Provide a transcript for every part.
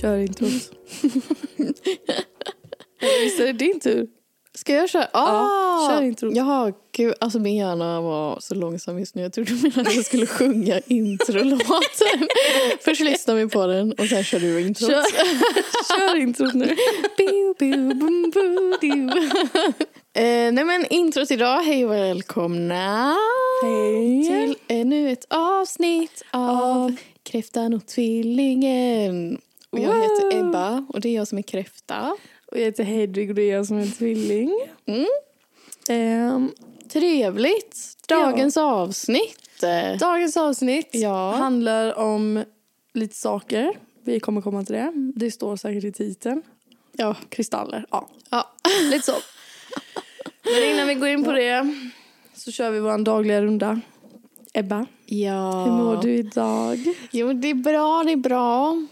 Kör inte oss. Visst är det din tur? Ska jag köra? Ah! kör introt. Jaha, gud. Alltså min hjärna var så långsam just nu. Jag trodde du menade att jag skulle sjunga introlåten. Först lyssnar vi på den och sen kör du introt. Kör, kör introt nu. Biu, biu, bum, bu, diu. eh, nej men introt idag, hej och välkomna. Hej. Till ännu ett avsnitt av Av. Kräftan och tvillingen. Och jag Wow. heter Ebba och det är jag som är kräfta. Och jag heter Hedvig och det är jag som är tvilling. Mm. Ehm, Trevligt! Dagens avsnitt. dagens avsnitt Ja. handlar om lite saker. Vi kommer komma till det. Det står säkert i titeln. Ja. Kristaller, ja. ja. Lite så. Men innan vi går in på det så kör vi vår dagliga runda. Ebba, ja. hur mår du idag? Jo, det är bra, det är bra.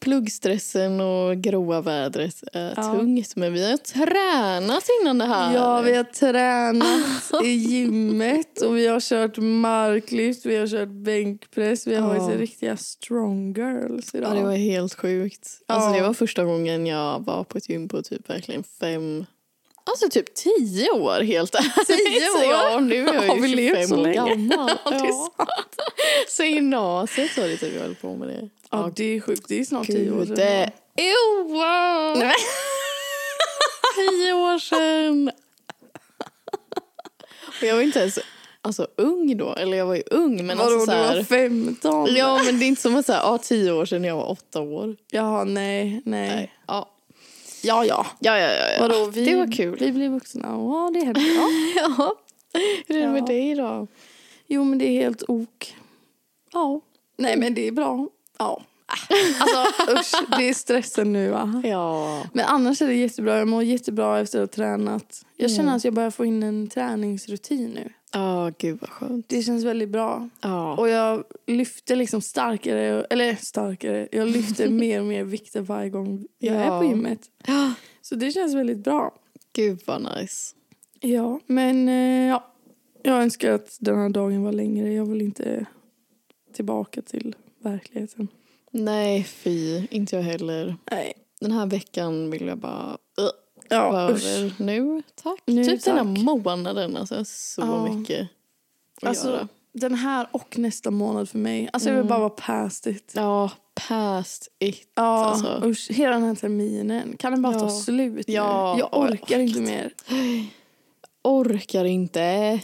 Pluggstressen och gråa vädret är Ja. tungt, men vi har tränat innan det här. Ja, vi har tränat i gymmet och vi har kört marklyft, vi har kört bänkpress. Vi har Ja. varit riktiga strong girls Ja, idag. det var helt sjukt. Alltså, Ja. det var första gången jag var på ett gym på typ verkligen fem... Alltså typ tio år, helt ärligt. Tio år? Ja, nu är Har jag vi ju levt 25 så år länge? gammal. Ja, det är sant. Så i gymnasiet var det typ jag höll på med det. Ja, det är sjukt. Det är snart tio år Gud. sedan. eh, ew, wow. Nej. Tio år sedan! Och jag var inte ens alltså, ung då. Eller jag var ju ung, men Vadå, alltså så du var här... 15? Ja, men det är inte som att säga ah, tio år sedan jag var åtta år. Jaha, nej, nej. Nej. Ja, Ja, ja. ja, ja. ja, ja. Vadå, vi, Det var kul. Vi blev vuxna. Ja, det hände. Ja. Ja. Hur är det med Ja. dig då? Jo, men det är helt ok. Ja. Nej, men det är bra. Ja. Äh. Alltså, usch, det är stressen nu, va? Ja. Men annars är det jättebra. Jag mår jättebra efter att ha tränat. Jag känner Mm. att jag börjar få in en träningsrutin nu. Ja, gud vad skönt. Det känns väldigt bra. Ja. Och jag lyfter liksom starkare, eller starkare, jag lyfter mer och mer vikter varje gång jag Ja. är på gymmet. Så det känns väldigt bra. Gud vad nice. Ja, men eh, ja. Jag önskar att den här dagen var längre. Jag vill inte tillbaka till verkligheten. Nej, fy. Inte jag heller. Nej. Den här veckan vill jag bara... Ugh. Ja, Var usch. över nu, tack. Nu, typ den tack. här månaden, alltså så Ja. mycket att Alltså, göra. den här och nästa månad för mig. Alltså jag vill Mm. bara vara past it. Ja, past it. Ja, Alltså. usch. Hela den här terminen. Kan den bara ta Ja. slut nu? Ja, Jag och jag orkar inte mer. Orkar inte.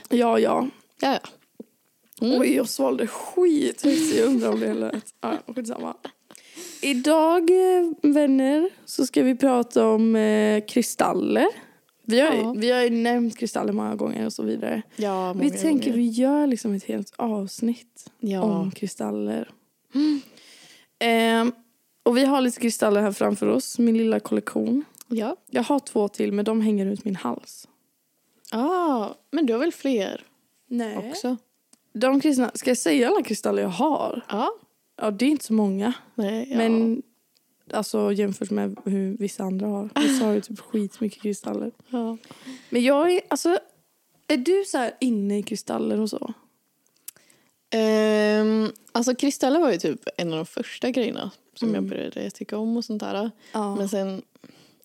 Ja, ja. Ja, ja. Mm. Oj, jag svalde skit. Jag undrar om det lät. Ja, skitsamma. Idag, eh, vänner, så ska vi prata om eh, kristaller. Vi har, ju- Ja. vi har ju nämnt kristaller många gånger och så vidare. ja många vi tänker gånger. vi gör liksom ett helt avsnitt ja. om kristaller. Ehm, och vi har lite kristaller här framför oss, min lilla kollektion. Ja. Jag har två till, men de hänger runt min hals. Ah, men du har väl fler Nej. också? De kristna, ska jag säga alla kristaller jag har? Ja. Ja, det är inte så många. Nej, ja. Men alltså jämfört med hur vissa andra har. Vissa har ju typ skitmycket kristaller. Ja. Men jag är, alltså, är du så här inne i kristaller och så? Ehm, alltså kristaller var ju typ en av de första grejerna som Mm. jag började tycka om och sånt där. Ja. Men sen,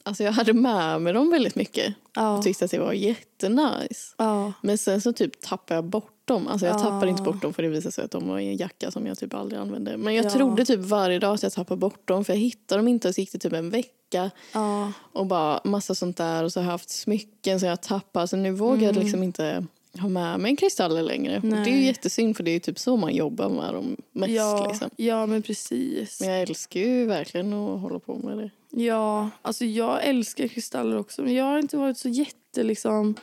alltså jag hade med mig dem väldigt mycket ja. och tyckte att det var jättenice. ja. Men sen så typ tappar jag bort dem. Alltså jag Ah. tappar inte bort dem för det visar sig att de var i en jacka som jag typ aldrig använde. Men jag Ja. trodde typ varje dag att jag tappade bort dem för jag hittade dem inte och så gick det typ en vecka ja. och bara massa sånt där och så har jag haft smycken som jag tappar så nu vågar jag Mm. liksom inte ha med mig kristaller längre. Och det är Nej. ju jättesynd för det är ju typ så man jobbar med dem mest ja. liksom. ja, men precis. Men jag älskar ju verkligen att hålla på med det. Ja, alltså jag älskar kristaller också. Men jag har inte varit så jätte liksom...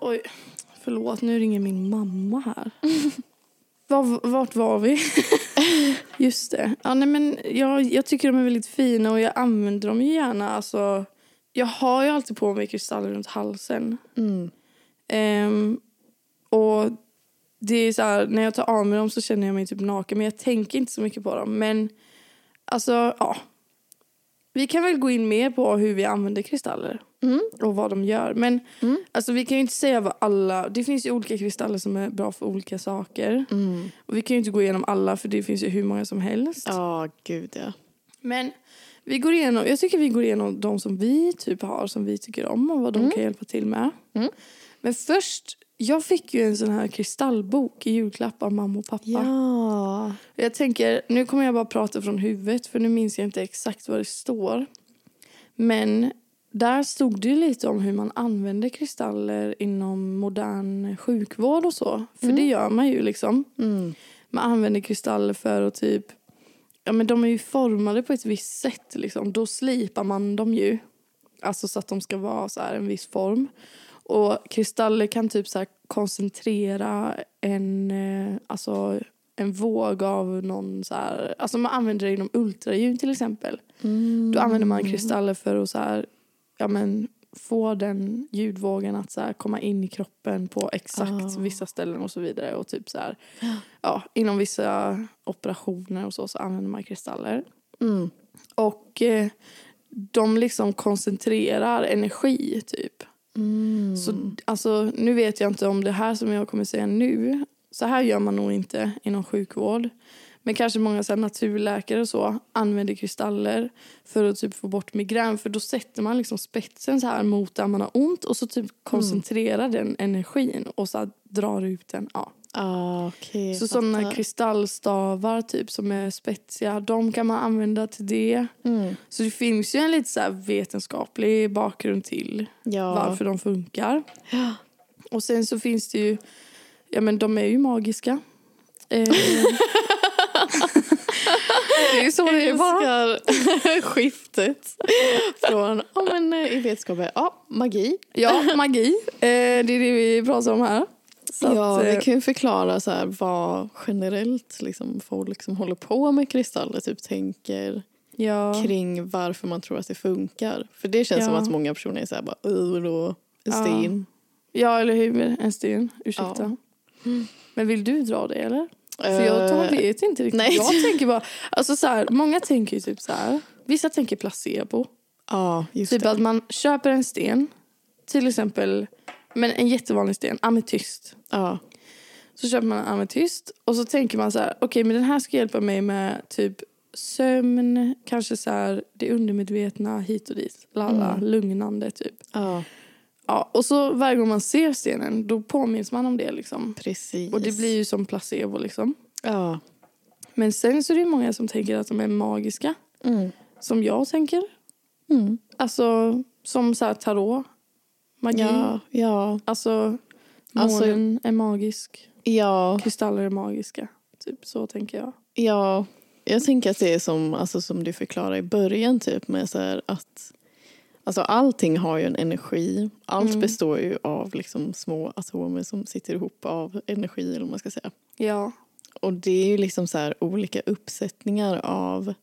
Oj, förlåt. Nu ringer min mamma här. Var, vart var vi? Just det. Ja, nej, men jag, jag tycker de är väldigt fina och jag använder dem ju gärna. Alltså, jag har ju alltid på mig kristaller runt halsen. Mm. Ehm, och det är så här, när jag tar av mig dem så känner jag mig typ naken. Men jag tänker inte så mycket på dem. Men alltså, ja. Vi kan väl gå in mer på hur vi använder kristaller Mm. och vad de gör. Men Mm. alltså, vi kan ju inte säga vad alla... Det finns ju olika kristaller som är bra för olika saker. Mm. Och vi kan ju inte gå igenom alla för det finns ju hur många som helst. Ja, gud ja. Men Vi går igenom, jag tycker vi går igenom de som vi typ har som vi tycker om och vad de Mm. kan hjälpa till med. Mm. Men först, jag fick ju en sån här kristallbok i julklapp av mamma och pappa. Ja. Jag tänker, nu kommer jag bara prata från huvudet för nu minns jag inte exakt vad det står. Men där stod det ju lite om hur man använder kristaller inom modern sjukvård och så. För Mm. det gör man ju liksom. Mm. Man använder kristaller för att typ... Ja, men de är ju formade på ett visst sätt. Liksom. Då slipar man dem ju. Alltså så att de ska vara så här en viss form. Och kristaller kan typ så här koncentrera en, eh, alltså en våg av någon så här... Alltså man använder det inom ultraljud till exempel. Mm. Då använder man kristaller för att så här, ja, men få den ljudvågen att så här, komma in i kroppen på exakt Ah. vissa ställen och så vidare. Och typ så här, ja, inom vissa operationer och så, så använder man kristaller. Mm. Och eh, de liksom koncentrerar energi typ. Mm. Så alltså, nu vet jag inte om det här som jag kommer säga nu. Så här gör man nog inte inom sjukvård. Men kanske många så här, naturläkare och så använder kristaller för att typ få bort migrän. För då sätter man liksom spetsen så här mot där man har ont och så Mm. typ koncentrerar den energin och så här, drar ut den. Ja. Ah, okej. Så sådana fattar. kristallstavar typ som är spetsiga, de kan man använda till det. Mm. Så det finns ju en lite så här vetenskaplig bakgrund till Ja. varför de funkar. Ja. Och sen så finns det ju, ja men de är ju magiska. Eh, det är ju så det är bara. älskar skiftet från ja, men, eh, i vetskapen, ja, magi. Ja, magi. Eh, det är det vi pratar om här. Så ja, att, eh, vi kan ju förklara så här, vad generellt liksom, folk som håller på med kristaller typ, tänker ja. kring varför man tror att det funkar. För det känns Ja. som att många personer är så här bara, "Ur och en Ja. sten. ja, eller hur? En sten, ursäkta. Ja. Men vill du dra det eller? För jag tar, Eh, vet inte riktigt. nej. Jag tänker bara, alltså så här, många tänker ju typ så här. Vissa tänker placebo. Ja, just Typ det. att man köper en sten, till exempel, men en jättevanlig sten, ametyst. Ja. Så köper man en ametyst och så tänker man så här, okej men den här ska hjälpa mig med typ sömn, kanske så här det undermedvetna hit och dit, lalla, Mm. lugnande typ. ja, Ja, och så varje gång man ser stenen då påminns man om det liksom. precis. Och det blir ju som placebo liksom. Ja. Men sen så är det ju många som tänker att de är magiska, Mm. som jag tänker. Mm. Alltså som så här tarot, magi. Ja, ja, Alltså, Alltså- månen är magisk. ja, Kristaller är magiska. Typ så tänker jag. ja. Jag tänker att det är som, alltså, som du förklarade i början, typ med så här att alltså, allting har ju en energi. Allt Mm. består ju av liksom, små atomer som sitter ihop av energi, eller vad man ska säga. Ja. Och det är ju liksom så här olika uppsättningar av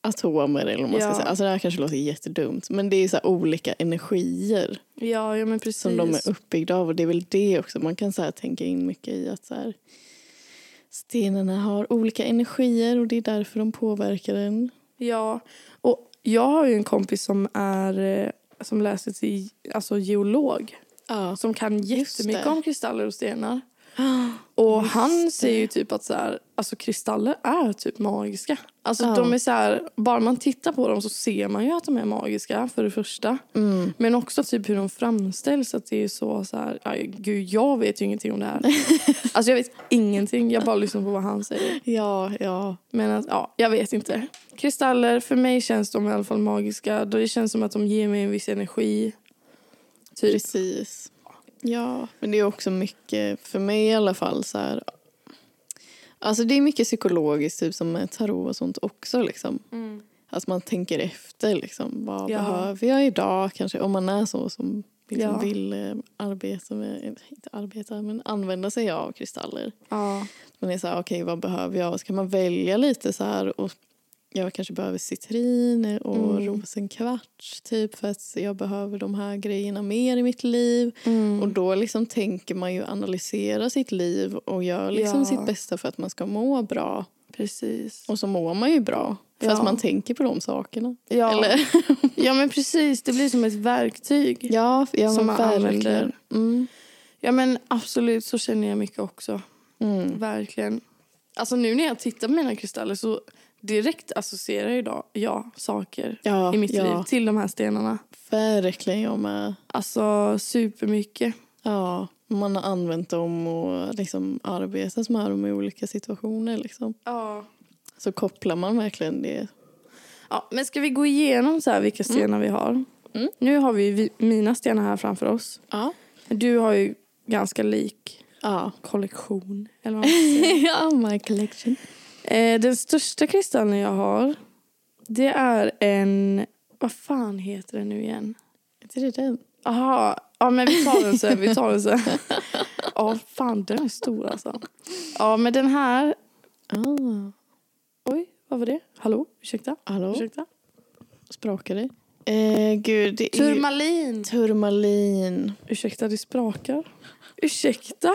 atomer, eller vad man ska Ja. säga. Alltså, det här kanske låter jättedumt, men det är ju så här olika energier. Ja, ja men precis. som de är uppbyggda av. Och det är väl det också man kan så här tänka in mycket i att så här, stenarna har olika energier och det är därför de påverkar en. Ja. Och jag har ju en kompis som är eh, som läser till alltså geolog. Ja. Som kan Just jättemycket det. om kristaller och stenar. Och han säger ju typ att så här, alltså kristaller är typ magiska. Alltså Ja. de är så här, bara man tittar på dem så ser man ju att de är magiska för det första. Mm. Men också typ hur de framställs. Att det är så, så här, aj, gud, jag vet ju ingenting om det här. alltså jag vet ingenting. Jag bara lyssnar på vad han säger. Ja, ja. Men att, ja, jag vet inte. Kristaller, för mig känns de i alla fall magiska. Då Det känns som att de ger mig en viss energi. Typ. Precis. Ja, men det är också mycket, för mig i alla fall, så här... Alltså det är mycket psykologiskt, typ som med tarot och sånt också. Liksom. Mm. Att man tänker efter, liksom, vad Ja. behöver jag idag? Kanske om man är så som liksom Ja. vill eh, arbeta med, eh, inte arbeta, men använda sig av kristaller. Ja. Man är så här, okej vad behöver jag? Och Så kan man välja lite så här. Och jag kanske behöver citrin och Mm. rosenkvarts typ för att jag behöver de här grejerna mer i mitt liv. Mm. Och då liksom tänker man ju analysera sitt liv och gör liksom Ja. sitt bästa för att man ska må bra. Precis. Och så mår man ju bra för Ja. att man tänker på de sakerna. Ja. Eller? ja, men precis. Det blir som ett verktyg. Ja, ja Som som man man verkligen. använder. Mm. Ja, men absolut. Så känner jag mycket också. Mm. Verkligen. Alltså nu när jag tittar på mina kristaller så direkt associerar idag jag saker Ja, i mitt ja. liv till de här stenarna. Verkligen jag med. Alltså supermycket. Ja, man har använt dem och liksom arbetat med dem i olika situationer. Liksom. Ja. Så kopplar man verkligen det. ja. Men ska vi gå igenom så här vilka stenar vi har? Mm. Nu har vi vi mina stenar här framför oss. Ja. Du har ju ganska lik Ja. kollektion. Eller vad man ska säga. ja, my collection. Eh, den största kristallen jag har, det är en... Vad fan heter den nu igen? Det är den. Aha, ja men vi tar den sen. Vi tar den sen. Ja, fan den är stor alltså. Ja, men den här... Ah. Oj, vad var det? Hallå, ursäkta? Hallå, Ursäkta? sprakar det? Eh, gud, det är ju... Turmalin! Turmalin. Ursäkta, det sprakar. Ursäkta?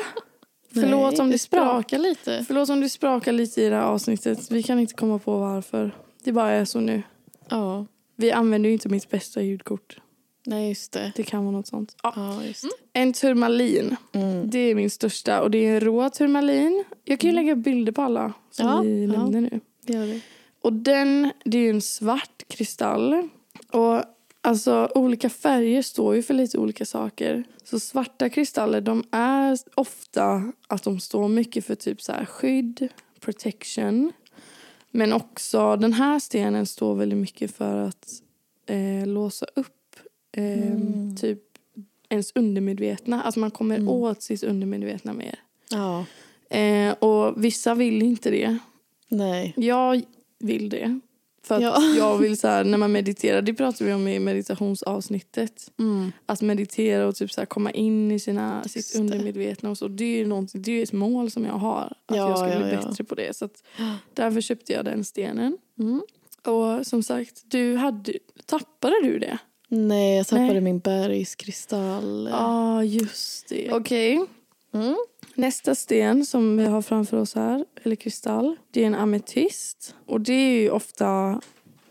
Förlåt Nej, om det sprakar. lite. Förlåt om det sprakar lite i det här avsnittet. Vi kan inte komma på varför. Det bara är så nu. Ja, Vi använder ju inte mitt bästa ljudkort. nej just det. Det kan vara något sånt. Ja. Ja, just det. En turmalin. Mm. Det är min största. Och det är en rå turmalin. Jag kan ju lägga bilder på alla som Ja, vi ja. nämner nu. Det gör det. Och den, det är ju en svart kristall. Och alltså olika färger står ju för lite olika saker. Så svarta kristaller de är ofta att de står mycket för typ så här skydd, protection. Men också den här stenen står väldigt mycket för att eh, låsa upp eh, Mm. typ ens undermedvetna. Alltså man kommer Mm. åt sitt undermedvetna mer. Ja, Eh, och vissa vill inte det. nej. Jag vill det. För att Ja. jag vill så här, när man mediterar, det pratade vi om i meditationsavsnittet. Mm. Att meditera och typ så här, komma in i sina, sitt Just det. undermedvetna och så. Det är ju någonting- det är ett mål som jag har. Att Ja, jag ska bli ja, ja. bättre på det. Så att, därför köpte jag den stenen. Mm. Och som sagt, du hade, tappade du det? Nej, jag tappade Nej. min bergskristall. Ja, just det. Okej. Mm. Nästa sten som vi har framför oss här, eller kristall, det är en ametist. Och det är ju ofta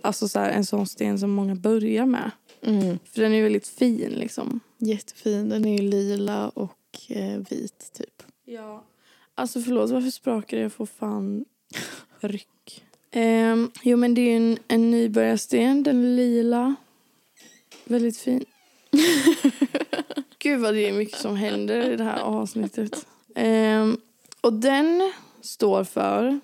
alltså så här, en sån sten som många börjar med. Mm. För den är ju väldigt fin liksom. Jättefin. Den är ju lila och eh, vit, typ. Ja. Alltså förlåt, varför sprakar det? Jag får fan ryck. Ehm, jo men det är ju en, en nybörjarsten, den är lila. Väldigt fin. Gud vad det är mycket som händer i det här avsnittet. Ehm, och den står för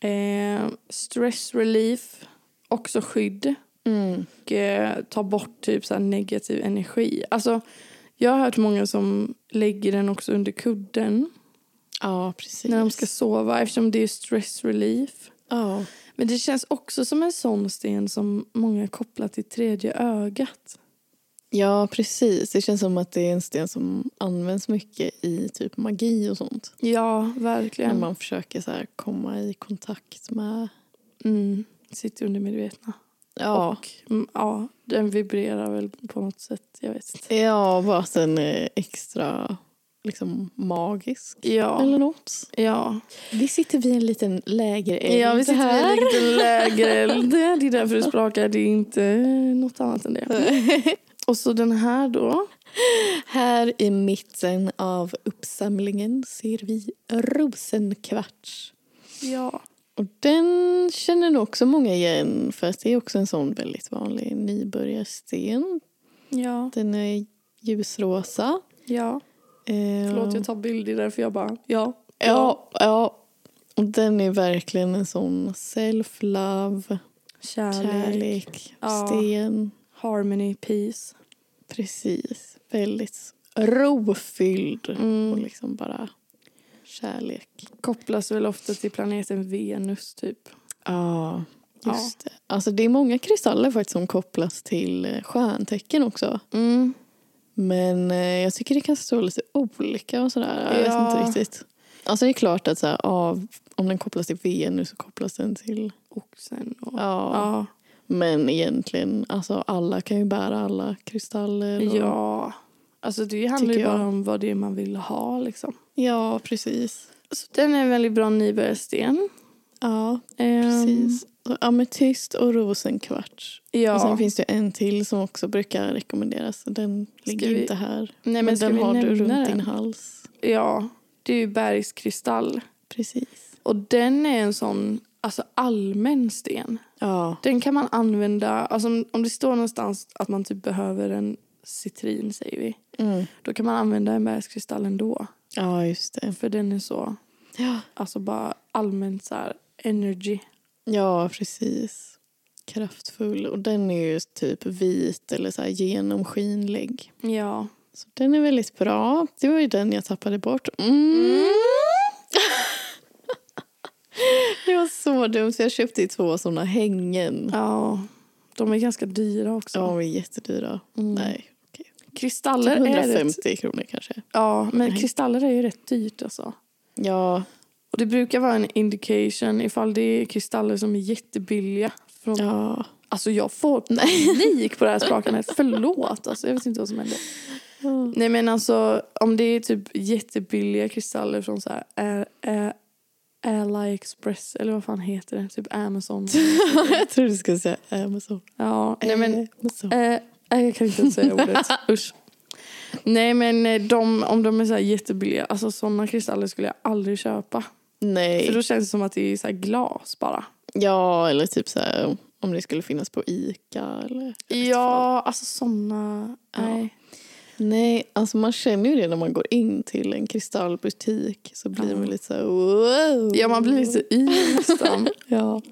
ehm, stress relief, också skydd Mm. och eh, ta bort typ så här negativ energi. Alltså, jag har hört många som lägger den också under kudden Ja, precis. när de ska sova eftersom det är stress relief. Ja. Men det känns också som en sån sten som många kopplar till tredje ögat. ja, precis. Det känns som att det är en sten som används mycket i typ magi och sånt. Ja, verkligen. När man försöker så här, komma i kontakt med... Mm, sitt undermedvetna. Ja. Och mm, ja, den vibrerar väl på något sätt. Jag vet inte. Ja, bara att den är extra liksom, magisk. Ja, Eller något. ja. Vi sitter vid en liten lägereld ja vi sitter vid här. en liten lägereld. Det är därför det sprakar. Det är inte något annat än det. Och så den här då. här i mitten av uppsamlingen ser vi rosenkvarts. Ja. Och den känner nog också många igen för att det är också en sån väldigt vanlig nybörjarsten. Ja. Den är ljusrosa. Ja. Eh, Förlåt jag tar bilder där för jag bara, ja. Ja, ja. Och den är verkligen en sån self-love, Kärlek. kärlek, Ja. sten. Harmony, peace. Precis. Väldigt rofylld. Och Mm. liksom bara kärlek. Kopplas väl ofta till planeten Venus typ. Ja, just det. Alltså det är många kristaller faktiskt som kopplas till eh, stjärntecken också. Mm. Men eh, jag tycker det kan stå lite olika och sådär. Jag Ja. vet inte riktigt. Alltså det är klart att så här, ja, om den kopplas till Venus så kopplas den till... Och sen och... Ja. Ja. Men egentligen, alltså alla kan ju bära alla kristaller. och- ja. Alltså det handlar ju Tycker jag. bara om vad det är man vill ha liksom. ja precis. Så Alltså, den är en väldigt bra nybörjarsten. Ja, Ehm, precis. Så Ametyst och rosenkvarts. Ehm, Ja. Och sen finns det en till som också brukar rekommenderas. Den ligger vi- inte här. Nej, men men ska den vi har du runt nämna din den? hals. Ja. Det är ju bergskristall. Precis. Och den är en sån alltså allmän sten. Ja. Den kan man använda, alltså om, om det står någonstans att man typ behöver en citrin säger vi. Mm. Då kan man använda en bergskristall ändå. Ja, just det. För den är så, Ja, alltså bara allmänt så här energy. ja precis. Kraftfull. Och den är ju typ vit eller så här genomskinlig. Ja. Så den är väldigt bra. Det var ju den jag tappade bort. Mm. det var så dumt. så Jag köpte ju två såna hängen. Ja. De är ganska dyra också. Mm. Ja, de är jättedyra. Nej. Kristaller är rätt, 150 kronor kanske. ja, men Nej. kristaller är ju rätt dyrt alltså. Ja, Och det brukar vara en indication ifall det är kristaller som är jättebilliga. Från, ja. Alltså jag får panik på det här sprakande. Förlåt alltså, jag vet inte vad som händer. Nej men alltså om det är typ jättebilliga kristaller från så här Air- Air- AliExpress eller vad fan heter det? Typ Amazon. jag trodde du skulle säga äh, Amazon. Ja, nej men Amazon. Eh, nej, jag kan inte ens säga ordet. Usch. Nej, men eh, de, om de är så här jättebilliga, alltså sådana kristaller skulle jag aldrig köpa. För Nej. då känns det som att det är så här glas bara. Ja, eller typ så här om det skulle finnas på Ica eller... Ja, alltså Mm. sådana. Ja. Nej. Nej, alltså man känner ju det när man går in till en kristallbutik så blir Ja. man lite så här wow. Ja, man blir lite yr nästan. Ja.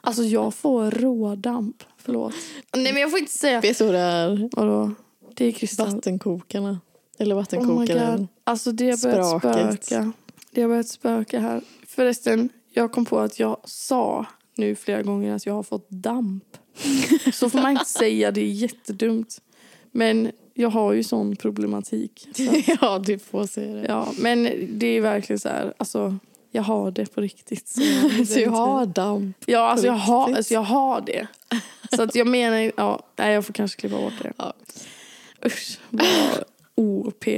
Alltså jag får rådamp. Förlåt. Nej, men jag får inte säga. Vet du vad det är? Vadå? Det är kristall. Vattenkokarna. Eller Oh my vattenkokaren. god. Alltså det har börjat Spraket. spöka. Det har börjat spöka här. Förresten, jag kom på att jag sa nu flera gånger att jag har fått damp. Så får man inte säga, det är jättedumt. Men jag har ju sån problematik. Så, att- ja, du får säga det. ja, men det är verkligen så här, alltså jag har det på riktigt. Så jag, Så jag har damp. ja, alltså, jag har, riktigt? alltså jag har det. Så att jag menar, ja, nej jag får kanske klippa bort det. Ja. Usch, vad OPK.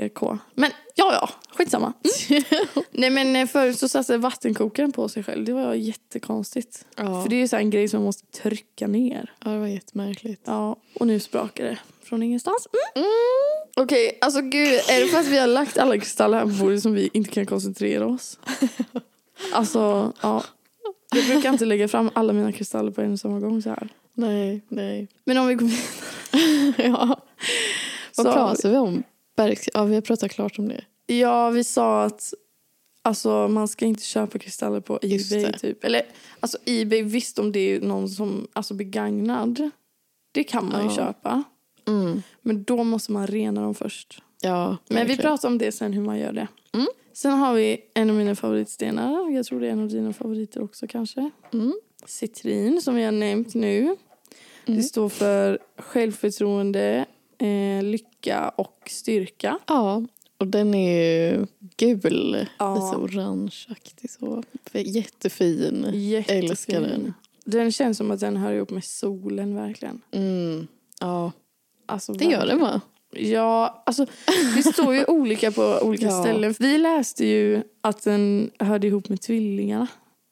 Men ja, ja, skitsamma. Mm. Nej men eh, förut så satte vattenkokaren på sig själv. Det var jättekonstigt. Ja. För det är ju så här en grej som man måste trycka ner. ja, det var jättemärkligt. Ja, och nu sprakar det från ingenstans. Mm. Okej, alltså gud, är det för att vi har lagt alla kristaller här på bordet som vi inte kan koncentrera oss? Alltså, ja. Jag brukar inte lägga fram alla mina kristaller på en och samma gång så här. Nej, nej. Men om vi går vidare. ja. så Vad har vi- pratar vi om? Bergs... Ja, vi har pratat klart om det. Ja, vi sa att alltså, man ska inte köpa kristaller på Just Ebay. det. Typ. Eller, alltså, Ebay, visst om det är någon som alltså, begagnad, det kan man ju Ja. köpa. Mm. Men då måste man rena dem först. Ja, Men vi verkligen. pratar om det sen, hur man gör det. Mm. Sen har vi en av mina favoritstenar. Jag tror det är en av dina favoriter också kanske. Mm. Citrin, som vi har nämnt nu. Det Mm. står för självförtroende, eh, lycka och styrka. Ja, och den är ju gul. Ja. Lite orangeaktig så. Jättefin. Jättefin. Älskar den. Den känns som att den hör ihop med solen verkligen. Mm. Ja, Alltså, det gör verkligen. den va? Ja, alltså det står ju olika på olika Ja. ställen. Vi läste ju att den hörde ihop med tvillingarna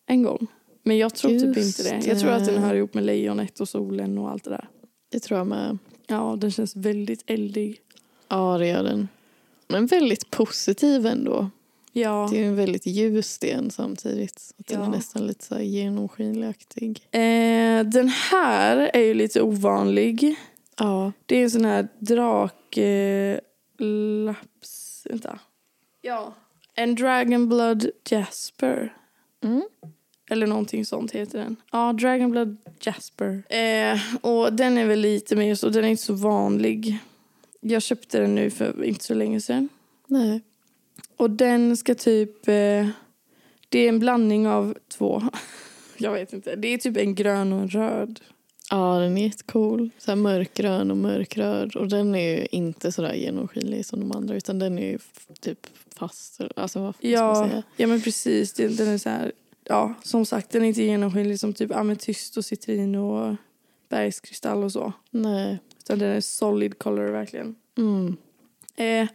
en gång. Men jag tror typ Just inte det. Jag tror att den det. hör ihop med lejonet och solen och allt det där. Det tror jag med. Ja, den känns väldigt eldig. Ja, det gör den. Men väldigt positiv ändå. Ja. Det är ju en väldigt ljus sten samtidigt. Att Den Ja. är nästan lite så här genomskinligaktig. Eh, den här är ju lite ovanlig. Ja. Det är en sån här drak... Eh, laps... Vänta. Ja. En Dragon Blood Jasper. Mm. Eller någonting sånt heter den. Ja, Dragon Blood Jasper. Eh, och den är väl lite mer så, den är inte så vanlig. Jag köpte den nu för inte så länge sedan. Nej. Och den ska typ... Eh, det är en blandning av två. Jag vet inte. Det är typ en grön och en röd. Ja, den är jättecool. Så här mörkgrön och mörkröd. Och den är ju inte så där genomskinlig som de andra utan den är ju f- typ fast. Alltså vad ska man Ja, säga? ja men precis. Den, den är så här, ja, som sagt, den är inte genomskinlig som typ ametyst och citrin och bergskristall och så. Nej. Utan den är solid color verkligen. Mm. Eh,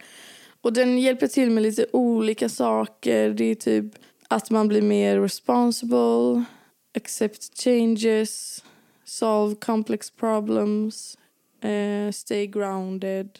och den hjälper till med lite olika saker. Det är typ att man blir mer responsible, accept changes, solve complex problems, eh, stay grounded.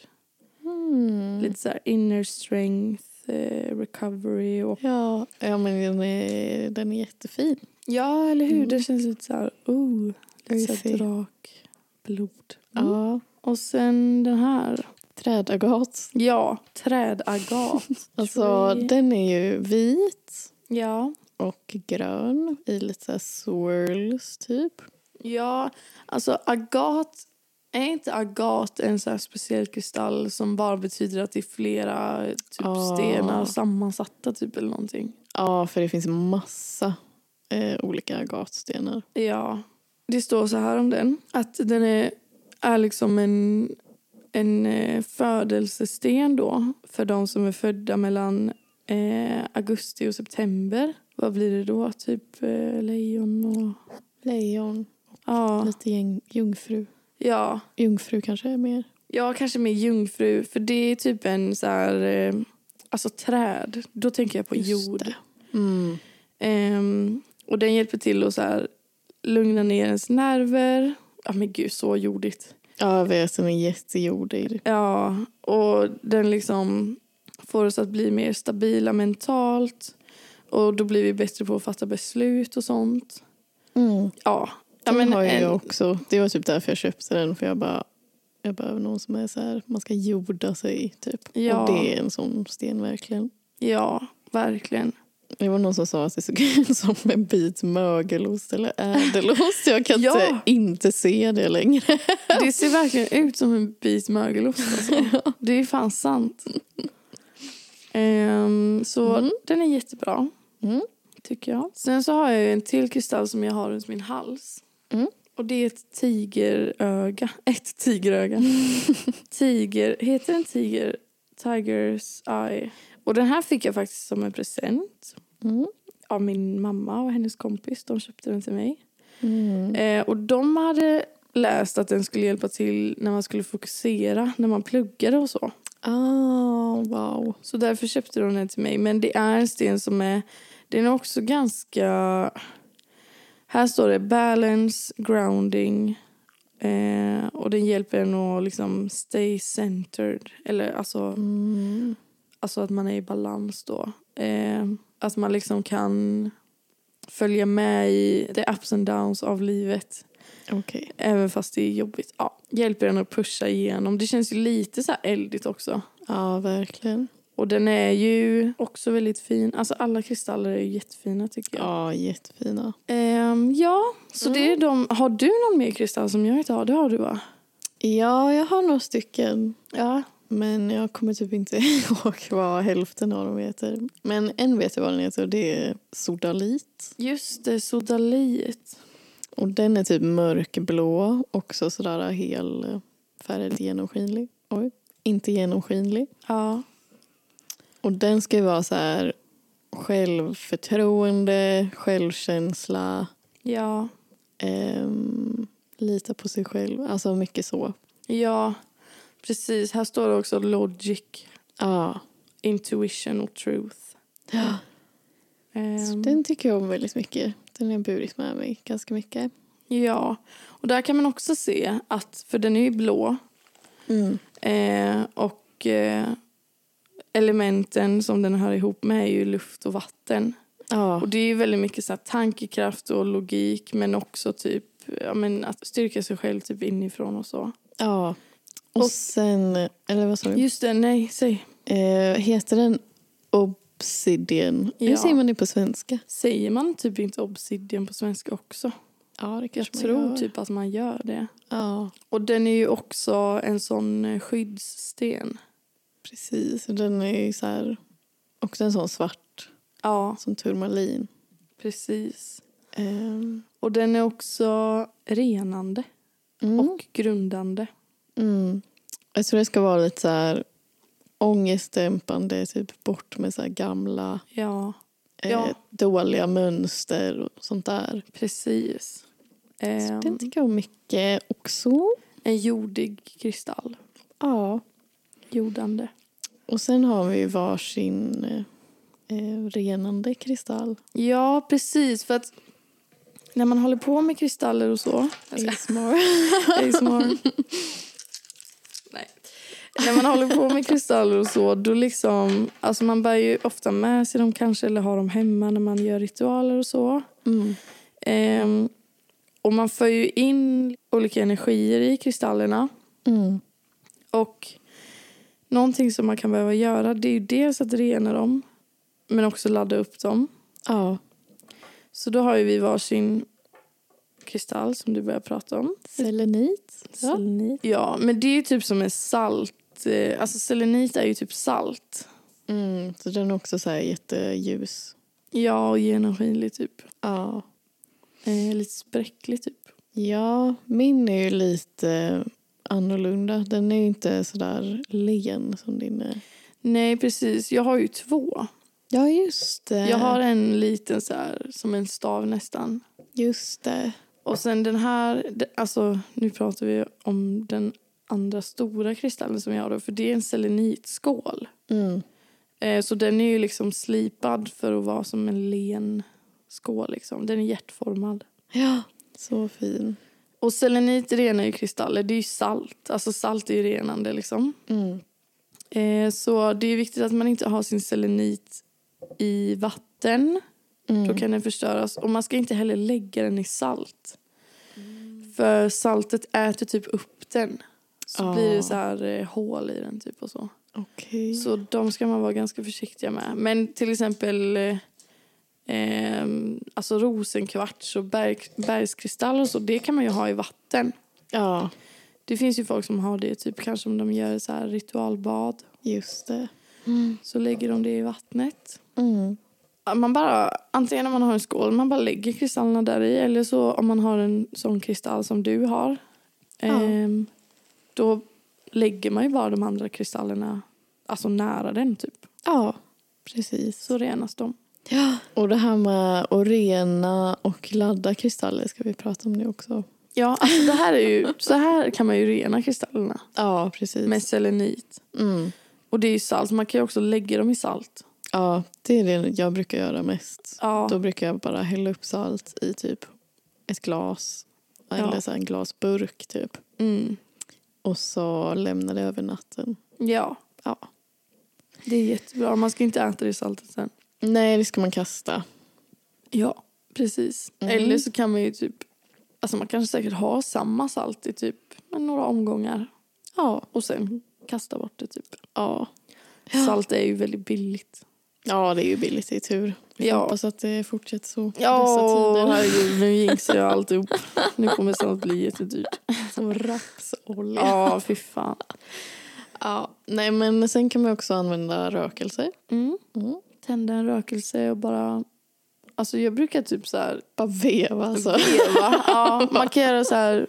Mm. Hmm. Lite så här inner strength. eh, recovery och... Ja, ja men den är, den är jättefin. Ja, eller hur? Mm. Det känns lite så här... Oh, lite så här Crazy. drak, blod. Mm. Ja. Och sen den här. Trädagat. Ja, trädagat. Alltså, Tree. den är ju vit ja. och grön i lite så här swirls, typ. Ja, alltså agat... Är inte agat en så här speciell kristall som bara betyder att det är flera typ, Ah. stenar sammansatta typ eller någonting? Ja, för det finns massa eh, olika agatstenar. Ja. Det står så här om den. Att den är, är liksom en, en eh, födelsesten då för de som är födda mellan eh, augusti och september. Vad blir det då? Typ eh, lejon och... Lejon, Ja. lite gäng, jungfru. ja. Jungfru kanske är mer. Ja, kanske med jungfru. För det är typ en så här... Eh, alltså träd. Då tänker jag på Just jord. det. Mm. Ehm, och den hjälper till att så här, lugna ner ens nerver. Ja, men gud, så jordigt. Ja, jag vet, den är jättejordig. Ja, och den liksom får oss att bli mer stabila mentalt. Och då blir vi bättre på att fatta beslut och sånt. Mm. Ja. ja Ja, men har ju en- jag också. Det var typ därför jag köpte den. För jag bara, jag behöver någon som är så här, man ska jorda sig typ. Ja. Och det är en sån sten verkligen. ja, verkligen. Det var någon som sa att det såg ut som en bit mögelost eller ädelost. Jag kan Ja. inte, inte se det längre. Det ser verkligen ut som en bit mögelost. Alltså. Det är fan sant. Ehm, så Mm. den är jättebra, Mm. tycker jag. Sen så har jag ju en till kristall som jag har runt min hals. Mm. Och det är ett tigeröga. Ett tigeröga. Tiger, heter den tiger? Tigers eye. Och den här fick jag faktiskt som en present Mm. av min mamma och hennes kompis. De köpte den till mig. Mm. Eh, och de hade läst att den skulle hjälpa till när man skulle fokusera när man pluggade och så. Ah, wow. Så därför köpte de den till mig. Men det är en sten som är, den är också ganska, här står det balance, grounding eh, och den hjälper en att liksom stay centered. Eller alltså Mm. Alltså att man är i balans då. Eh, att man liksom kan följa med i the ups and downs av livet. Okej. Även fast det är jobbigt. Ja, hjälper den att pusha igenom. Det känns ju lite så här eldigt också. Ja, verkligen. Och den är ju också väldigt fin. Alltså alla kristaller är ju jättefina tycker jag. Ja, jättefina. Ehm, ja så det är de. Har du någon mer kristall som jag inte har? Det har du va? Ja, jag har några stycken. Ja. Men jag kommer typ inte ihåg vad hälften av dem heter. Men en vet jag vad den heter och det är Sodalit. Just det, sodalit. Och den är typ mörkblå, också sådär helfärgad genomskinlig. Oj, inte genomskinlig. Ja. Och den ska ju vara så här självförtroende, självkänsla, Ja. ehm, lita på sig själv. Alltså mycket så. Ja. Precis, här står det också logic. Ja, Intuition och truth. så Ehm, den tycker jag om väldigt mycket. Den har jag burit med mig ganska mycket. Ja, och där kan man också se att, för den är ju blå eh, och eh, elementen som den hör ihop med är ju luft och vatten. Ja. Och det är ju väldigt mycket så här, tankekraft och logik men också typ ja, men att styrka sig själv typ inifrån och så. Ja. Och, Och- sen, eller vad sa du? Just det, nej, säg. Eh, heter den Obsidian? Hur Ja. säger man det på svenska? Säger man typ inte obsidian på svenska också? Ja, det Jag kanske tror typ att man gör det. Ja, Och den är ju också en sån eh, skyddssten. precis. Den är ju så här... Också en sån svart, Ja, som turmalin. precis. Ehm, Och den är också renande mm. och grundande. Mm. Jag tror det ska vara lite så här ångestdämpande, typ bort med så här gamla Ja, eh, Ja. dåliga mönster och sånt där. precis. Så Eh, den tycker jag om mycket också. en jordig kristall. Ja. Jordande. Och sen har vi ju varsin eh, eh, renande kristall. Ja, precis. För att när man håller på med kristaller och så... ASMR. ASMR. Nej. när man håller på med kristaller och så, då liksom... Alltså man bär ju ofta med sig dem kanske eller har dem hemma när man gör ritualer och så. Mm. Ehm, och man för ju in olika energier i kristallerna. Mm. Och någonting som man kan behöva göra det är ju dels att rena dem men också ladda upp dem. Ja. Så då har ju vi varsin kristall som du börjar prata om. Selenit. Ja. Selenit. Ja, men det är ju typ som en salt. eh, Alltså selenit är ju typ salt. Mm. Så den är också så här jätteljus. Ja, och genomskinlig typ. Ja. Eh, lite spräcklig typ. Ja, min är ju lite annorlunda. Den är ju inte så där len som din är. Nej, precis. Jag har ju två. Ja, just det. Jag har en liten så här, som en stav nästan. Just det. Och sen den här, de- alltså nu pratar vi om den andra stora kristallen som jag har då, för det är en selenitskål. Mm. Eh, så den är ju liksom slipad för att vara som en len skål liksom. Den är hjärtformad. Ja, så fin. Och selenit renar ju kristaller, det är ju salt. Alltså salt är ju renande liksom. Mm. Eh, så det är viktigt att man inte har sin selenit i vatten. Mm. Då kan den förstöras. Och man ska inte heller lägga den i salt. För saltet äter typ upp den. Så Mm. Ah. blir det så här eh, hål i den typ och så. Okej. Så de ska man vara ganska försiktiga med. Men till exempel eh, ehm, alltså rosenkvarts och berg, bergskristall och så, det kan man ju ha i vatten. Ja, Det finns ju folk som har det, typ kanske om de gör så här ritualbad. just det. Så lägger de det i vattnet. Mm. man bara, antingen om man har en skål, man bara lägger kristallerna där i eller så om man har en sån kristall som du har Ja. ehm, då lägger man ju bara de andra kristallerna alltså nära den typ. Ja, precis. Så renas de. Ja. Och det här med att rena och ladda kristaller ska vi prata om nu också. Ja, alltså det här är ju, så här kan man ju rena kristallerna Ja, precis. med selenit. Mm. Och det är ju salt, man kan ju också lägga dem i salt. Ja, det är det jag brukar göra mest. Ja, Då brukar jag bara hälla upp salt i typ ett glas eller Ja. så här en glasburk typ. mm. Och så lämnar det över natten. ja. Ja. det är jättebra. Man ska inte äta det i saltet sen. Nej, det ska man kasta. Ja, precis. Mm. Eller så kan man ju typ... Alltså man kanske säkert har samma salt i typ men några omgångar Ja. och sen kasta bort det. typ. Ja, Salt är ju väldigt billigt. ja det är ju billigt. Det är tur. Vi Ja. hoppas att det fortsätter så i Åh, dessa tider. herregud, nu jinxar jag alltihop. Nu kommer salt bli jättedyrt. Som rapsolja. Ja, fy fan. Ja, nej men sen kan man också använda rökelse. Mm. Mm. Tända en rökelse och bara... Alltså jag brukar typ så här... Bara veva alltså. Veva. Ja, man kan göra så här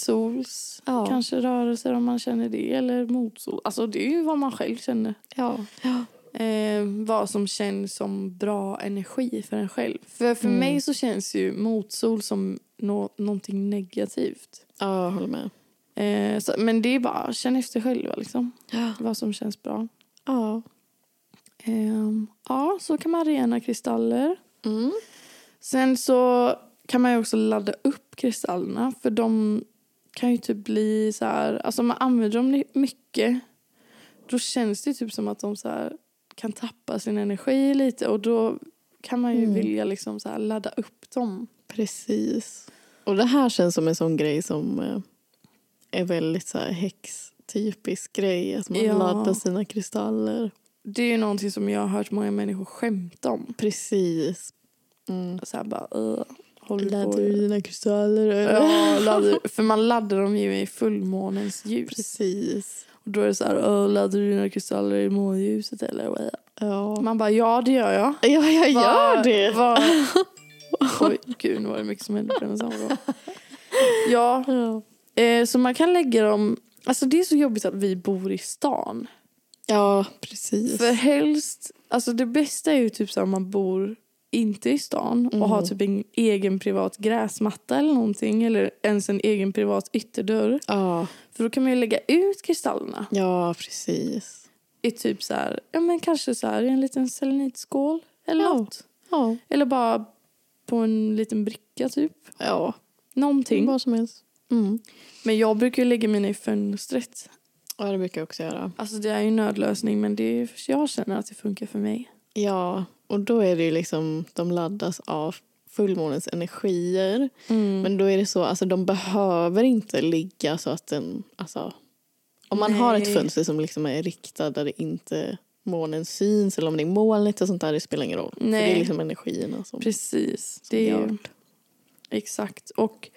medsols, Ja. kanske rörelser om man känner det, eller motsol. Alltså det är ju vad man själv känner. Ja. ja. eh, vad som känns som bra energi för en själv. För, för Mm. mig så känns ju motsol som nå någonting negativt. Ja, jag håller med. Eh, så, men det är bara känn efter själva liksom, Ja. vad som känns bra. ja. Ehm, ja, så kan man rena kristaller. Mm. Sen så kan man ju också ladda upp kristallerna för de kan ju typ bli så här, alltså om man använder dem ni- mycket då känns det typ som att de så här kan tappa sin energi lite och då kan man ju Mm. vilja liksom så här ladda upp dem. Precis. Och det här känns som en sån grej som eh, är väldigt så här häxtypisk grej. Att man Ja. laddar sina kristaller. Det är ju någonting som jag har hört många människor skämta om. Precis. Mm. Så här bara, "Åh, håller du Laddar på? du dina kristaller? eller? Ja, laddar, för man laddar dem ju i fullmånens ljus. Precis. Och då är det så här, "Åh, laddar du dina kristaller i månljuset eller? Ja. Man bara, ja det gör jag. Ja, jag gör Vad- det. vad- Oj, gud, nu var det mycket som hände på en och samma gång. Ja, Ja. eh, så man kan lägga dem... Alltså det är så jobbigt att vi bor i stan. Ja, precis. För helst... Alltså det bästa är ju typ så att man bor inte i stan och Mm. har typ en egen privat gräsmatta eller någonting. Eller ens en egen privat ytterdörr. Ja, För då kan man ju lägga ut kristallerna ja precis. i typ så här... Ja men kanske så här i en liten selenitskål eller Ja. något. Ja, Eller bara på en liten bricka typ. ja. Någonting. vad som helst. Mm. Men jag brukar ju lägga mina i fönstret. Ja, det brukar jag också göra. Alltså det är ju en nödlösning men det är, jag känner att det funkar för mig. Ja, och då är det ju liksom, de laddas av fullmånens energier. Men då är det så, alltså de behöver inte ligga så att den, alltså om man har ett Nej. fönster som liksom är riktat där det inte månen syns eller om det är molnigt och sånt där, det spelar ingen roll. För det Nej. är liksom energierna som... Precis. som Det är gör ju, exakt. Och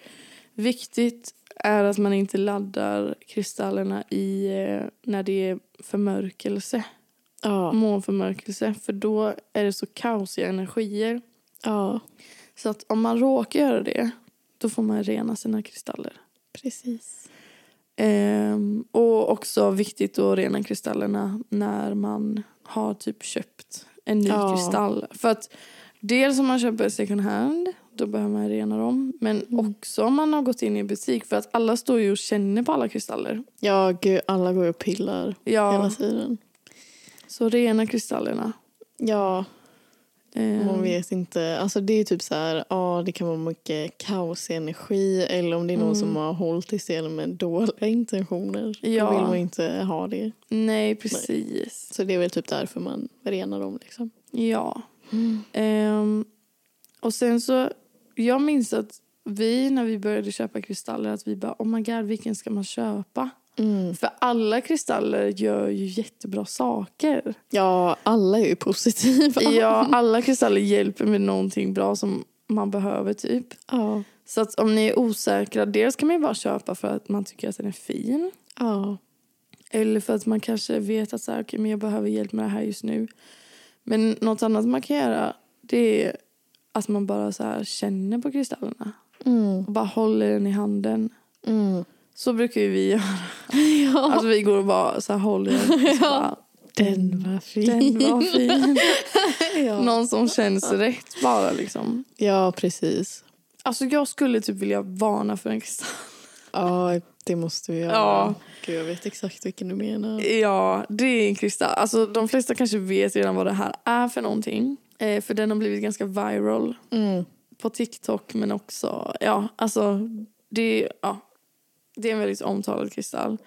viktigt är att man inte laddar kristallerna i, eh, när det är förmörkelse. Mm. Ja, Månförmörkelse. För då är det så kaosiga energier. ja, Så att om man råkar göra det, då får man rena sina kristaller. precis. Ehm, och också viktigt att rena kristallerna när man har typ köpt en ny Ja. kristall. För att dels om man köper second hand, då behöver man rena dem. Men Mm. också om man har gått in i butik, för att alla står ju och känner på alla kristaller. Ja, gud, alla går och pillar hela Ja, tiden. så rena kristallerna. Ja, Ehm, Man vet inte. Alltså det är typ så här, ja det kan vara mycket kaos i energi eller om det är någon Mm. som har hållit i stenen med dåliga intentioner. Ja. Då vill man inte ha det. Nej, precis. Så det är väl typ därför man renar dem liksom. Ja. Ehm, och sen så, jag minns att vi när vi började köpa kristaller att vi bara oh my god vilken ska man köpa? Mm. För alla kristaller gör ju jättebra saker. Ja, alla är ju positiva. Ja, alla kristaller hjälper med någonting bra som man behöver typ. Ja. Så att om ni är osäkra, dels kan man ju bara köpa för att man tycker att den är fin. Ja. Eller för att man kanske vet att så här, okej, men jag behöver hjälp med det här just nu. Men något annat man kan göra det är att man bara så här känner på kristallerna. Mm. Och bara håller den i handen. Mm. Så brukar ju vi göra. ja. Alltså vi går och bara så här håller den. och Så bara, den var fin. den var fin. ja. Någon som känns rätt bara liksom. ja, precis. Alltså jag skulle typ vilja varna för en kristall. Ja, det måste vi göra. Ja. Gud, jag vet exakt vilken du menar. Ja, det är en kristall. Alltså de flesta kanske vet redan vad det här är för någonting. Eh, för den har blivit ganska viral Mm. på TikTok men också, ja alltså det, ja, det är en väldigt omtalad kristall.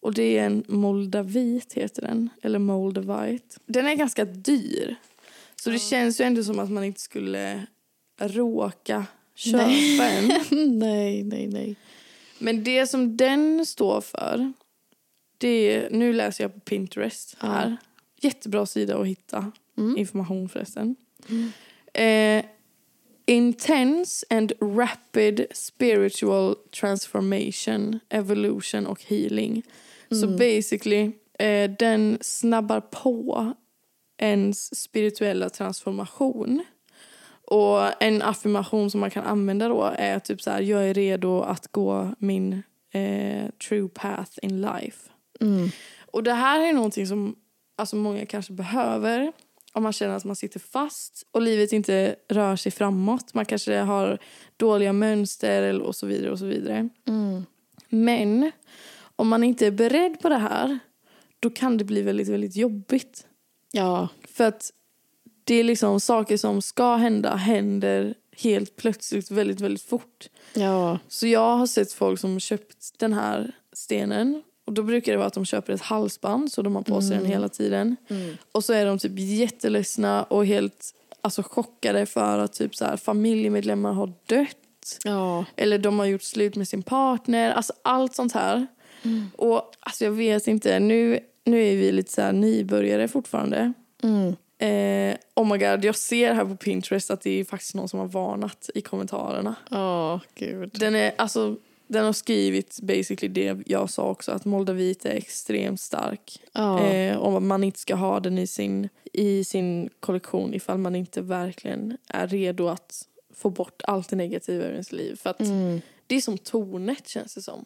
Och det är en moldavit heter den, eller moldavite. Den är ganska dyr. Så det känns ju ändå som att man inte skulle råka köpa en. nej, nej, nej. Men det som den står för, det är, nu läser jag på Pinterest här. Jättebra sida att hitta Mm. information förresten. Eh, intense and rapid spiritual transformation, evolution och healing. Så basically, eh, den snabbar på ens spirituella transformation. Och en affirmation som man kan använda då är typ så här, jag är redo att gå min eh, true path in life. Mm. Och det här är någonting som alltså, många kanske behöver om man känner att man sitter fast och livet inte rör sig framåt. Man kanske har dåliga mönster eller- och så vidare och så vidare. Mm. Men om man inte är beredd på det här då kan det bli väldigt, väldigt jobbigt. Ja, För att det är liksom saker som ska hända händer helt plötsligt väldigt, väldigt fort. ja, Så jag har sett folk som köpt den här stenen och då brukar det vara att de köper ett halsband så de har på sig den hela tiden. Och så är de typ jätteledsna och helt alltså, chockade för att typ så här, familjemedlemmar har dött. ja, Eller de har gjort slut med sin partner. Alltså allt sånt här. Och alltså jag vet inte, nu, nu är vi lite så här nybörjare fortfarande. mm. Eh, oh my god, jag ser här på Pinterest att det är faktiskt någon som har varnat i kommentarerna. ja, gud. Den, är, alltså, den har skrivit basically det jag sa också, att moldavit är extremt stark. Ja, Eh, och att man inte ska ha den i sin, i sin kollektion ifall man inte verkligen är redo att få bort allt det negativa ur ens liv. För att mm, det är som tornet känns det som.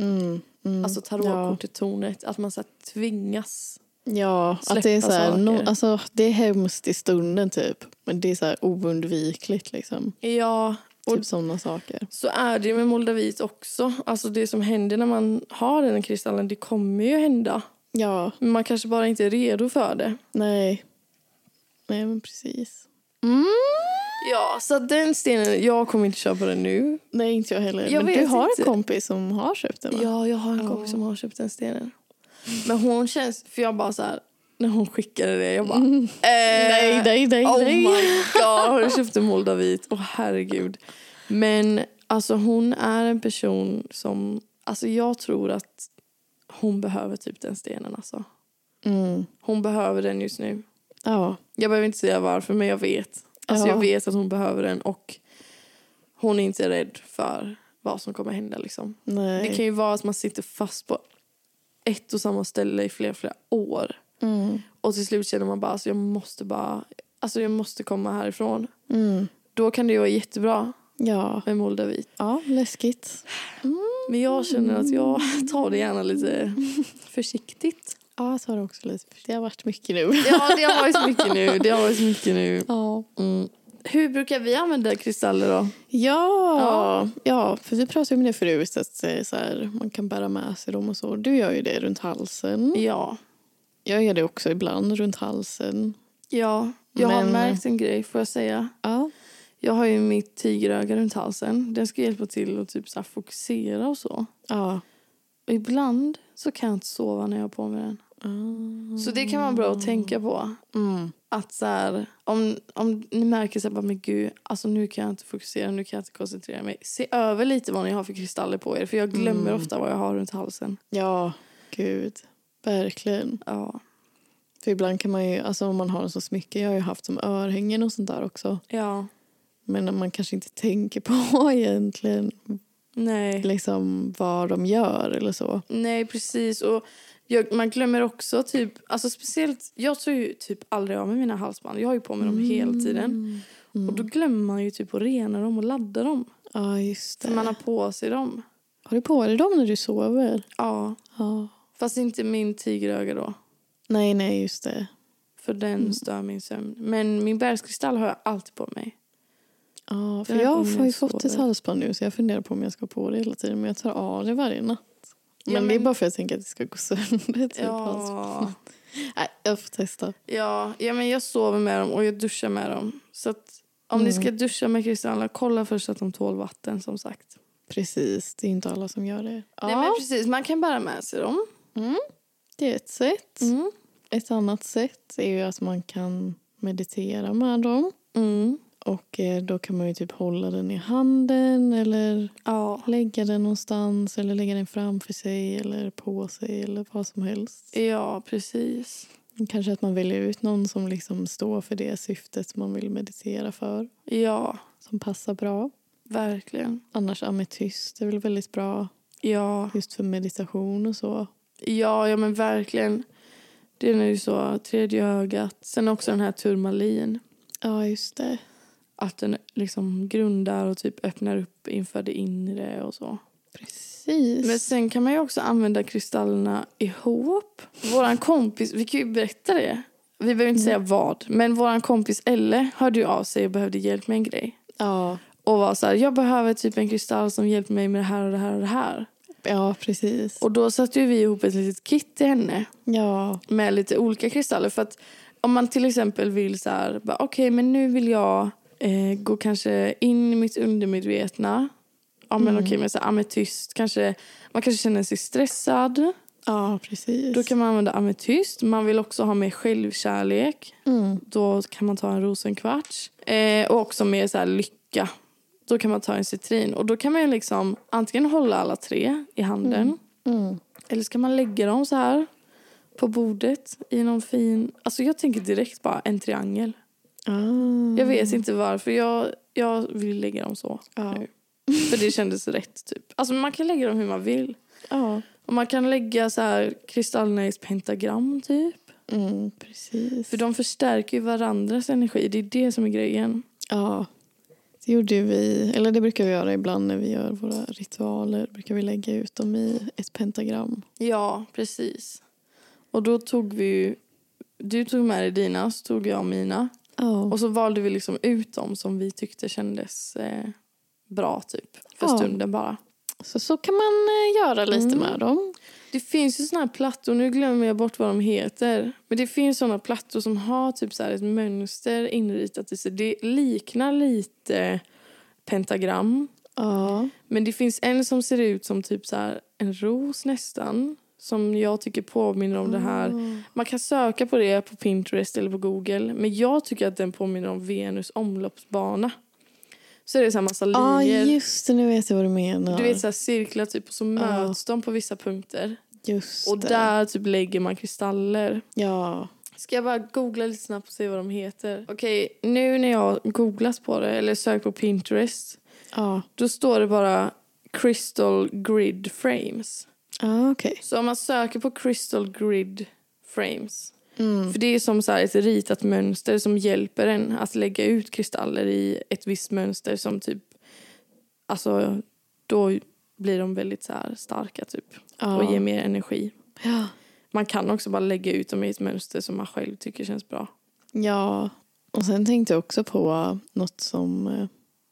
mm, mm. Alltså tarotkortet tornet, att man så här, tvingas. Ja, ja att det är så släppa här, saker. no, alltså, det är hemskt i stunden typ. Men det är så här oundvikligt liksom. Ja, och Typ sådana saker. Så är det ju med moldavit också. Alltså det som händer när man har den kristallen, det kommer ju hända. Ja, Men man kanske bara inte är redo för det. nej. Nej men precis. Mm. Ja, så att den stenen, jag kommer inte köpa den nu. Nej inte jag heller. Jag men du vet har inte. en kompis som har köpt den va? Ja, jag har en Ja. kompis som har köpt den stenen. Men hon känns... För jag bara så här... När hon skickade det, jag bara... Eh, Mm. nej, nej, nej. oh nej. my god, hon köpte moldavit. Åh herregud. Men alltså hon är en person som... Alltså jag tror att hon behöver typ den stenen alltså. Mm. Hon behöver den just nu. Ja. Jag behöver inte säga varför, men jag vet. Alltså Ja. Jag vet att hon behöver den och hon är inte rädd för vad som kommer hända. Liksom. Nej. Det kan ju vara att man sitter fast på ett och samma ställe i flera, flera år. mm. Och till slut känner man bara alltså, jag måste bara, alltså jag måste komma härifrån. Mm. Då kan det ju vara jättebra Ja. med moldavit. ja, läskigt. Men jag känner att jag tar det gärna lite försiktigt. Ja, jag tar det också lite. Det har varit mycket nu. Ja, det har varit så mycket nu. Det har varit så mycket nu. Ja. Mm. Hur brukar vi använda kristaller då? Ja. ja, för vi pratade om det förut, att eh, så här, man kan bära med sig dem och så. Du gör ju det runt halsen. Ja. Jag gör det också ibland runt halsen. Ja, jag har Men- märkt en grej får jag säga. Ja. Jag har ju mitt tigeröga runt halsen. Den ska hjälpa till att typ så här fokusera och så. Ja. Och ibland så kan jag inte sova när jag har på mig den. Så det kan vara bra att tänka på. Mm. Att så här, om, om ni märker så här, bara, men gud, alltså nu kan jag inte fokusera, nu kan jag inte koncentrera mig. Se över lite vad ni har för kristaller på er. För jag glömmer ofta vad jag har runt halsen. Ja, gud. Verkligen. Ja. För ibland kan man ju, alltså om man har en sån smycke, jag har ju haft som örhängen och sånt där också. Ja. Men man kanske inte tänker på egentligen Nej. liksom vad de gör eller så. Nej, precis. Och jag, man glömmer också typ... Alltså speciellt, jag tar ju typ aldrig av mig mina halsband. Jag har ju på mig dem hela Mm. tiden. Och då glömmer man ju typ att rena dem och ladda dem. Ja, just För det. man har på sig dem. Har du på dig dem när du sover? Ja. Ja. Fast inte min tigeröga då. Nej, nej, just det. För den stör min sömn. Men min bergskristall har jag alltid på mig. Ja, för Den här jag gången har ju jag fått ett sover. halsband nu så jag funderar på om jag ska ha på det hela tiden. Men jag tar av det varje natt. Ja, Men, det är men- bara för att jag tänker att det ska gå sönder. Typ, halsbandet. Ja. Nej, jag får testa. alltså. Ja, ja, men jag sover med dem och jag duschar med dem. Så att om ni Mm. ska duscha med kristaller, kolla först att de tål vatten som sagt. Precis, det är inte alla som gör det. Ja, Nej, men precis. Man kan bära med sig dem. det är ett sätt. Mm. Ett annat sätt är ju att man kan meditera med dem. Mm. Och eh, då kan man ju typ hålla den i handen eller Ja. lägga den någonstans eller lägga den framför sig eller på sig eller vad som helst. ja, precis. Kanske att man väljer ut någon som liksom står för det syftet man vill meditera för, Ja, som passar bra. verkligen. Annars ametyst är väl väldigt bra Ja, just för meditation och så. ja, ja men verkligen. Det är ju så, tredje ögat. Sen också den här turmalin. Ja, just det. Att den liksom grundar och typ öppnar upp inför det inre och så. Precis. Men sen kan man ju också använda kristallerna ihop. Våran kompis, vi kan ju berätta det. Vi behöver inte säga vad, men våran kompis Elle hörde ju av sig och behövde hjälp med en grej. ja. Och var så här, jag behöver typ en kristall som hjälper mig med det här och det här och det här. ja, precis. Och då satte ju vi ihop ett litet kit till henne Ja. med lite olika kristaller. För att om man till exempel vill så här, bara, okej men nu vill jag eh, gå kanske in i mitt undermedvetna. Ja men okej men så här, ametyst kanske, man kanske känner sig stressad. ja, precis. Då kan man använda ametyst. Man vill också ha mer självkärlek. mm. Då kan man ta en rosenkvarts. Eh, och också mer så här lycka. Då kan man ta en citrin. Och då kan man ju liksom antingen hålla alla tre i handen. Mm. Eller ska man lägga dem så här på bordet i någon fin... Alltså jag tänker direkt bara en triangel. Ah. Jag vet inte varför. Jag, jag vill lägga dem så. Ja. För det kändes rätt typ. Alltså man kan lägga dem hur man vill. ja. Och man kan lägga så här kristallerna i ett pentagram typ. Mm, precis. För de förstärker ju varandras energi. Det är det som är grejen. Ja. Det gjorde ju vi, eller det brukar vi göra ibland när vi gör våra ritualer. brukar vi lägga ut dem i ett pentagram. Ja, precis. Och då tog vi ju... Du tog med dig dina, så tog jag mina. Ja. Och så valde vi liksom ut dem som vi tyckte kändes eh, bra typ. För Ja. stunden bara. så, så kan man eh, göra lite Mm. med dem. Det finns ju såna här plattor, nu glömmer jag bort vad de heter. Men det finns såna plattor som har typ så här ett mönster inritat i sig. Det liknar lite pentagram. Ja. Men det finns en som ser ut som typ så här en ros nästan. Som jag tycker påminner om det här. Mm. Man kan söka på det på Pinterest eller på Google. Men jag tycker att den påminner om Venus omloppsbana. Så är det så här massa Ja, linjer. just det. Nu vet jag vad du menar. Du vet så här cirklar typ och så möts de på vissa punkter. just Och det. där typ lägger man kristaller. Ja. Ska jag bara googla lite snabbt och se vad de heter? Okej, nu när jag googlat på det eller sökt på Pinterest. Ja. Då står det bara Crystal Grid Frames. Ja, okej. Så om man söker på Crystal Grid Frames. Mm. För det är som så här ett ritat mönster som hjälper en att lägga ut kristaller i ett visst mönster som typ... Alltså, då blir de väldigt så här starka typ. Ja. Och ger mer energi. Ja. Man kan också bara lägga ut dem i ett mönster som man själv tycker känns bra. Ja, och sen tänkte jag också på något som eh,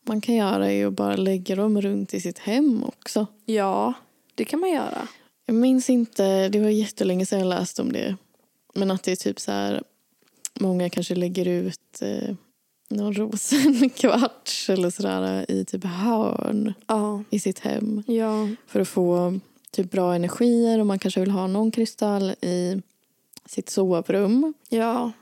man kan göra är att bara lägga dem runt i sitt hem också. Ja, det kan man göra. Jag minns inte, det var jättelänge sedan jag läste om det. Men att det är typ så här, många kanske lägger ut eh, någon rosenkvarts eller sådär i typ hörn Ja. i sitt hem Ja. för att få typ bra energier och man kanske vill ha någon kristall i sitt sovrum, Ja.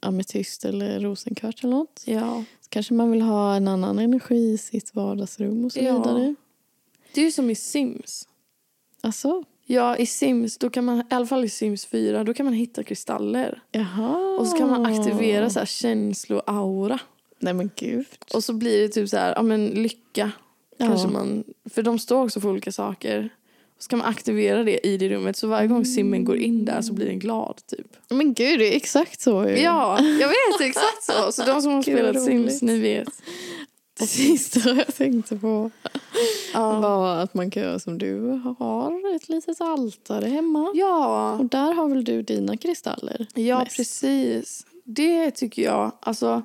ametyst eller rosenkvarts eller något. Ja. Så kanske man vill ha en annan energi i sitt vardagsrum och så Ja. vidare. Det är ju som i Sims. Alltså, Ja, i Sims, då kan man, i alla fall i Sims 4, då kan man hitta kristaller. jaha. Och så kan man aktivera så här känsloaura. Nej men gud. Och så blir det typ så här, ja men lycka. Ja. Kanske man, för de står också för olika saker. Och så kan man aktivera det i det rummet. Så varje gång simmen går in där så blir den glad typ. Men gud, det är exakt så ju. Ja, jag vet exakt så. Så de som har Eh. Gud, vad spelat Sims, roligt. ni vet. Det sista jag tänkte på Ja. var att man kan göra som du har, ett litet altare hemma. Ja, Och där har väl du dina kristaller? ja mest? precis. Det tycker jag, alltså.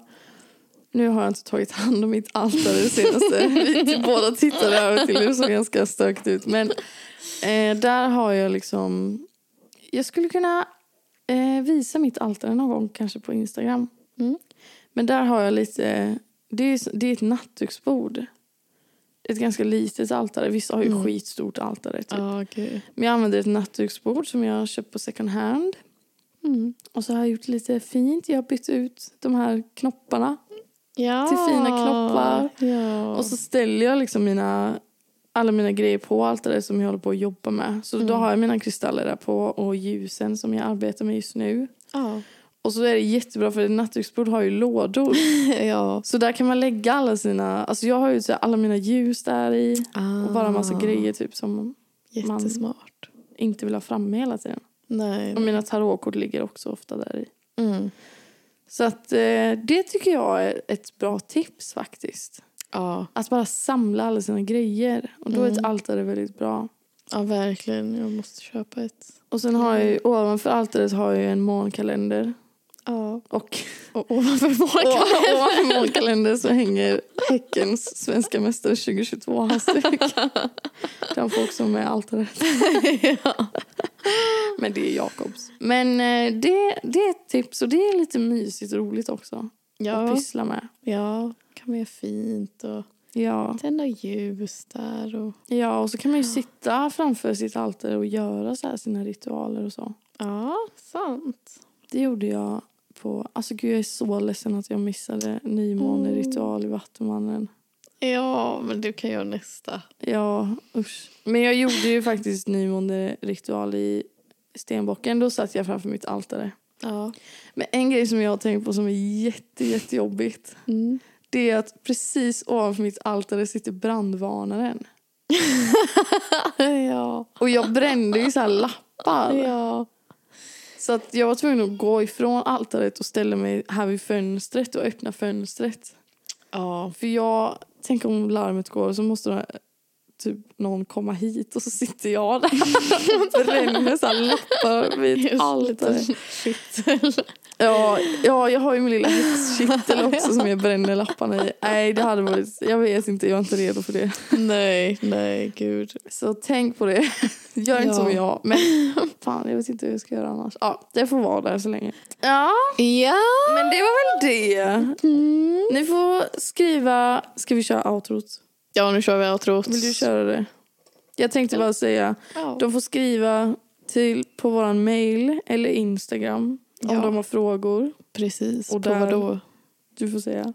Nu har jag inte tagit hand om mitt altare det senaste. Vi till båda tittade över till det såg ganska stökigt ut. Men eh, där har jag liksom... Jag skulle kunna eh, visa mitt altare någon gång kanske på Instagram. Mm. Men där har jag lite... Det är, det är ett nattduksbord. Ett ganska litet altare. Vissa har ju Mm. skitstort altare. Typ. Ja, gud. Men jag använder ett nattduksbord som jag har köpt på second hand. Mm. Och så har jag gjort lite fint. Jag har bytt ut de här knopparna. Ja. Till fina knoppar. Ja. Och så ställer jag liksom mina, alla mina grejer på allt det där som jag håller på att jobba med. Så då Mm. har jag mina kristaller där på och ljusen som jag arbetar med just nu. ja. Och så är det jättebra för ett nattduksbord har ju lådor. ja. Så där kan man lägga alla sina, alltså jag har ju så här alla mina ljus där i. Och bara massa grejer typ som man- Ah. Jättesmart. inte vill ha framme hela tiden. Nej. Och mina tarotkort ligger också ofta där i. Mm. Så att eh, det tycker jag är ett bra tips faktiskt. Ja. Att bara samla alla sina grejer. Och då är ett Mm. altare väldigt bra. ja, verkligen. Jag måste köpa ett. Och sen har jag Mm. ju, ovanför altaret har jag ju en månkalender. Ja. Och Och ovanför och- våra ovanför månkalender så hänger Häckens svenska mästare 2022 halsduk. Den får också med altaret. Men det är Jakobs. Men eh, det, det är ett tips och det är lite mysigt och roligt också. Att Ja. pyssla med. ja, kan man göra fint och Ja. tända ljus där. Och... ja, och så kan man ju sitta framför sitt altare och göra så här sina ritualer och så. Ja, sant. Det gjorde jag på... Alltså gud, jag är så ledsen att jag missade nymåneritual i Vattumannen. Ja, men du kan göra nästa. Ja, usch. Men jag gjorde ju faktiskt nymåneritual i Stenbocken. Då satt jag framför mitt altare. Ja. Men en grej som jag har tänkt på som är jätte, jättejobbigt Mm. det är att precis ovanför mitt altare sitter brandvarnaren. ja. Och jag brände ju så här lappar. Ja. Så att jag var tvungen att gå ifrån altaret och ställa mig här vid fönstret och öppna fönstret. Ja. För jag tänker om larmet går så måste det, typ någon komma hit och så sitter jag där och bränner så här lappar vid ett altare. Ja, ja, jag har ju min lilla häxkittel också som jag bränner lapparna i. Nej, det hade varit... Jag vet inte, jag är inte redo för det. nej, nej, gud. Så tänk på det. Gör inte Ja. som jag. Men fan, jag vet inte hur jag ska göra annars. Ja, det får vara där så länge. Ja, Ja. men det var väl det. Mm. Ni får skriva... Ska vi köra outrot? Ja, nu kör vi outrot. Vill du köra det? Jag tänkte bara säga, Ja. de får skriva till, på vår mail eller Instagram om Ja. de har frågor. Precis. Och Och på där- vadå? Du får säga.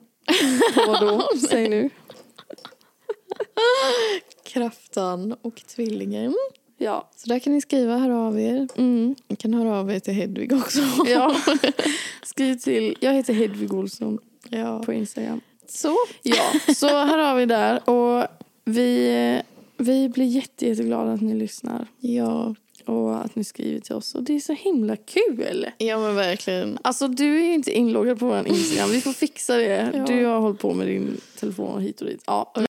På vadå? Säg nu. Kraftan och tvillingen. Ja. Så där kan ni skriva, höra av er. Mm. Ni kan höra av er till Hedvig också. ja. Skriv till... Jag heter Hedvig Olsson ja. på Instagram. Så. Ja, så här har vi där. Och vi, vi blir jätte, jätteglada att ni lyssnar Ja. och att ni skriver till oss. Och det är så himla kul! ja, men verkligen. Alltså du är ju inte inloggad på vår Instagram. Vi får fixa det. Ja. Du har hållit på med din telefon hit och dit. Ja,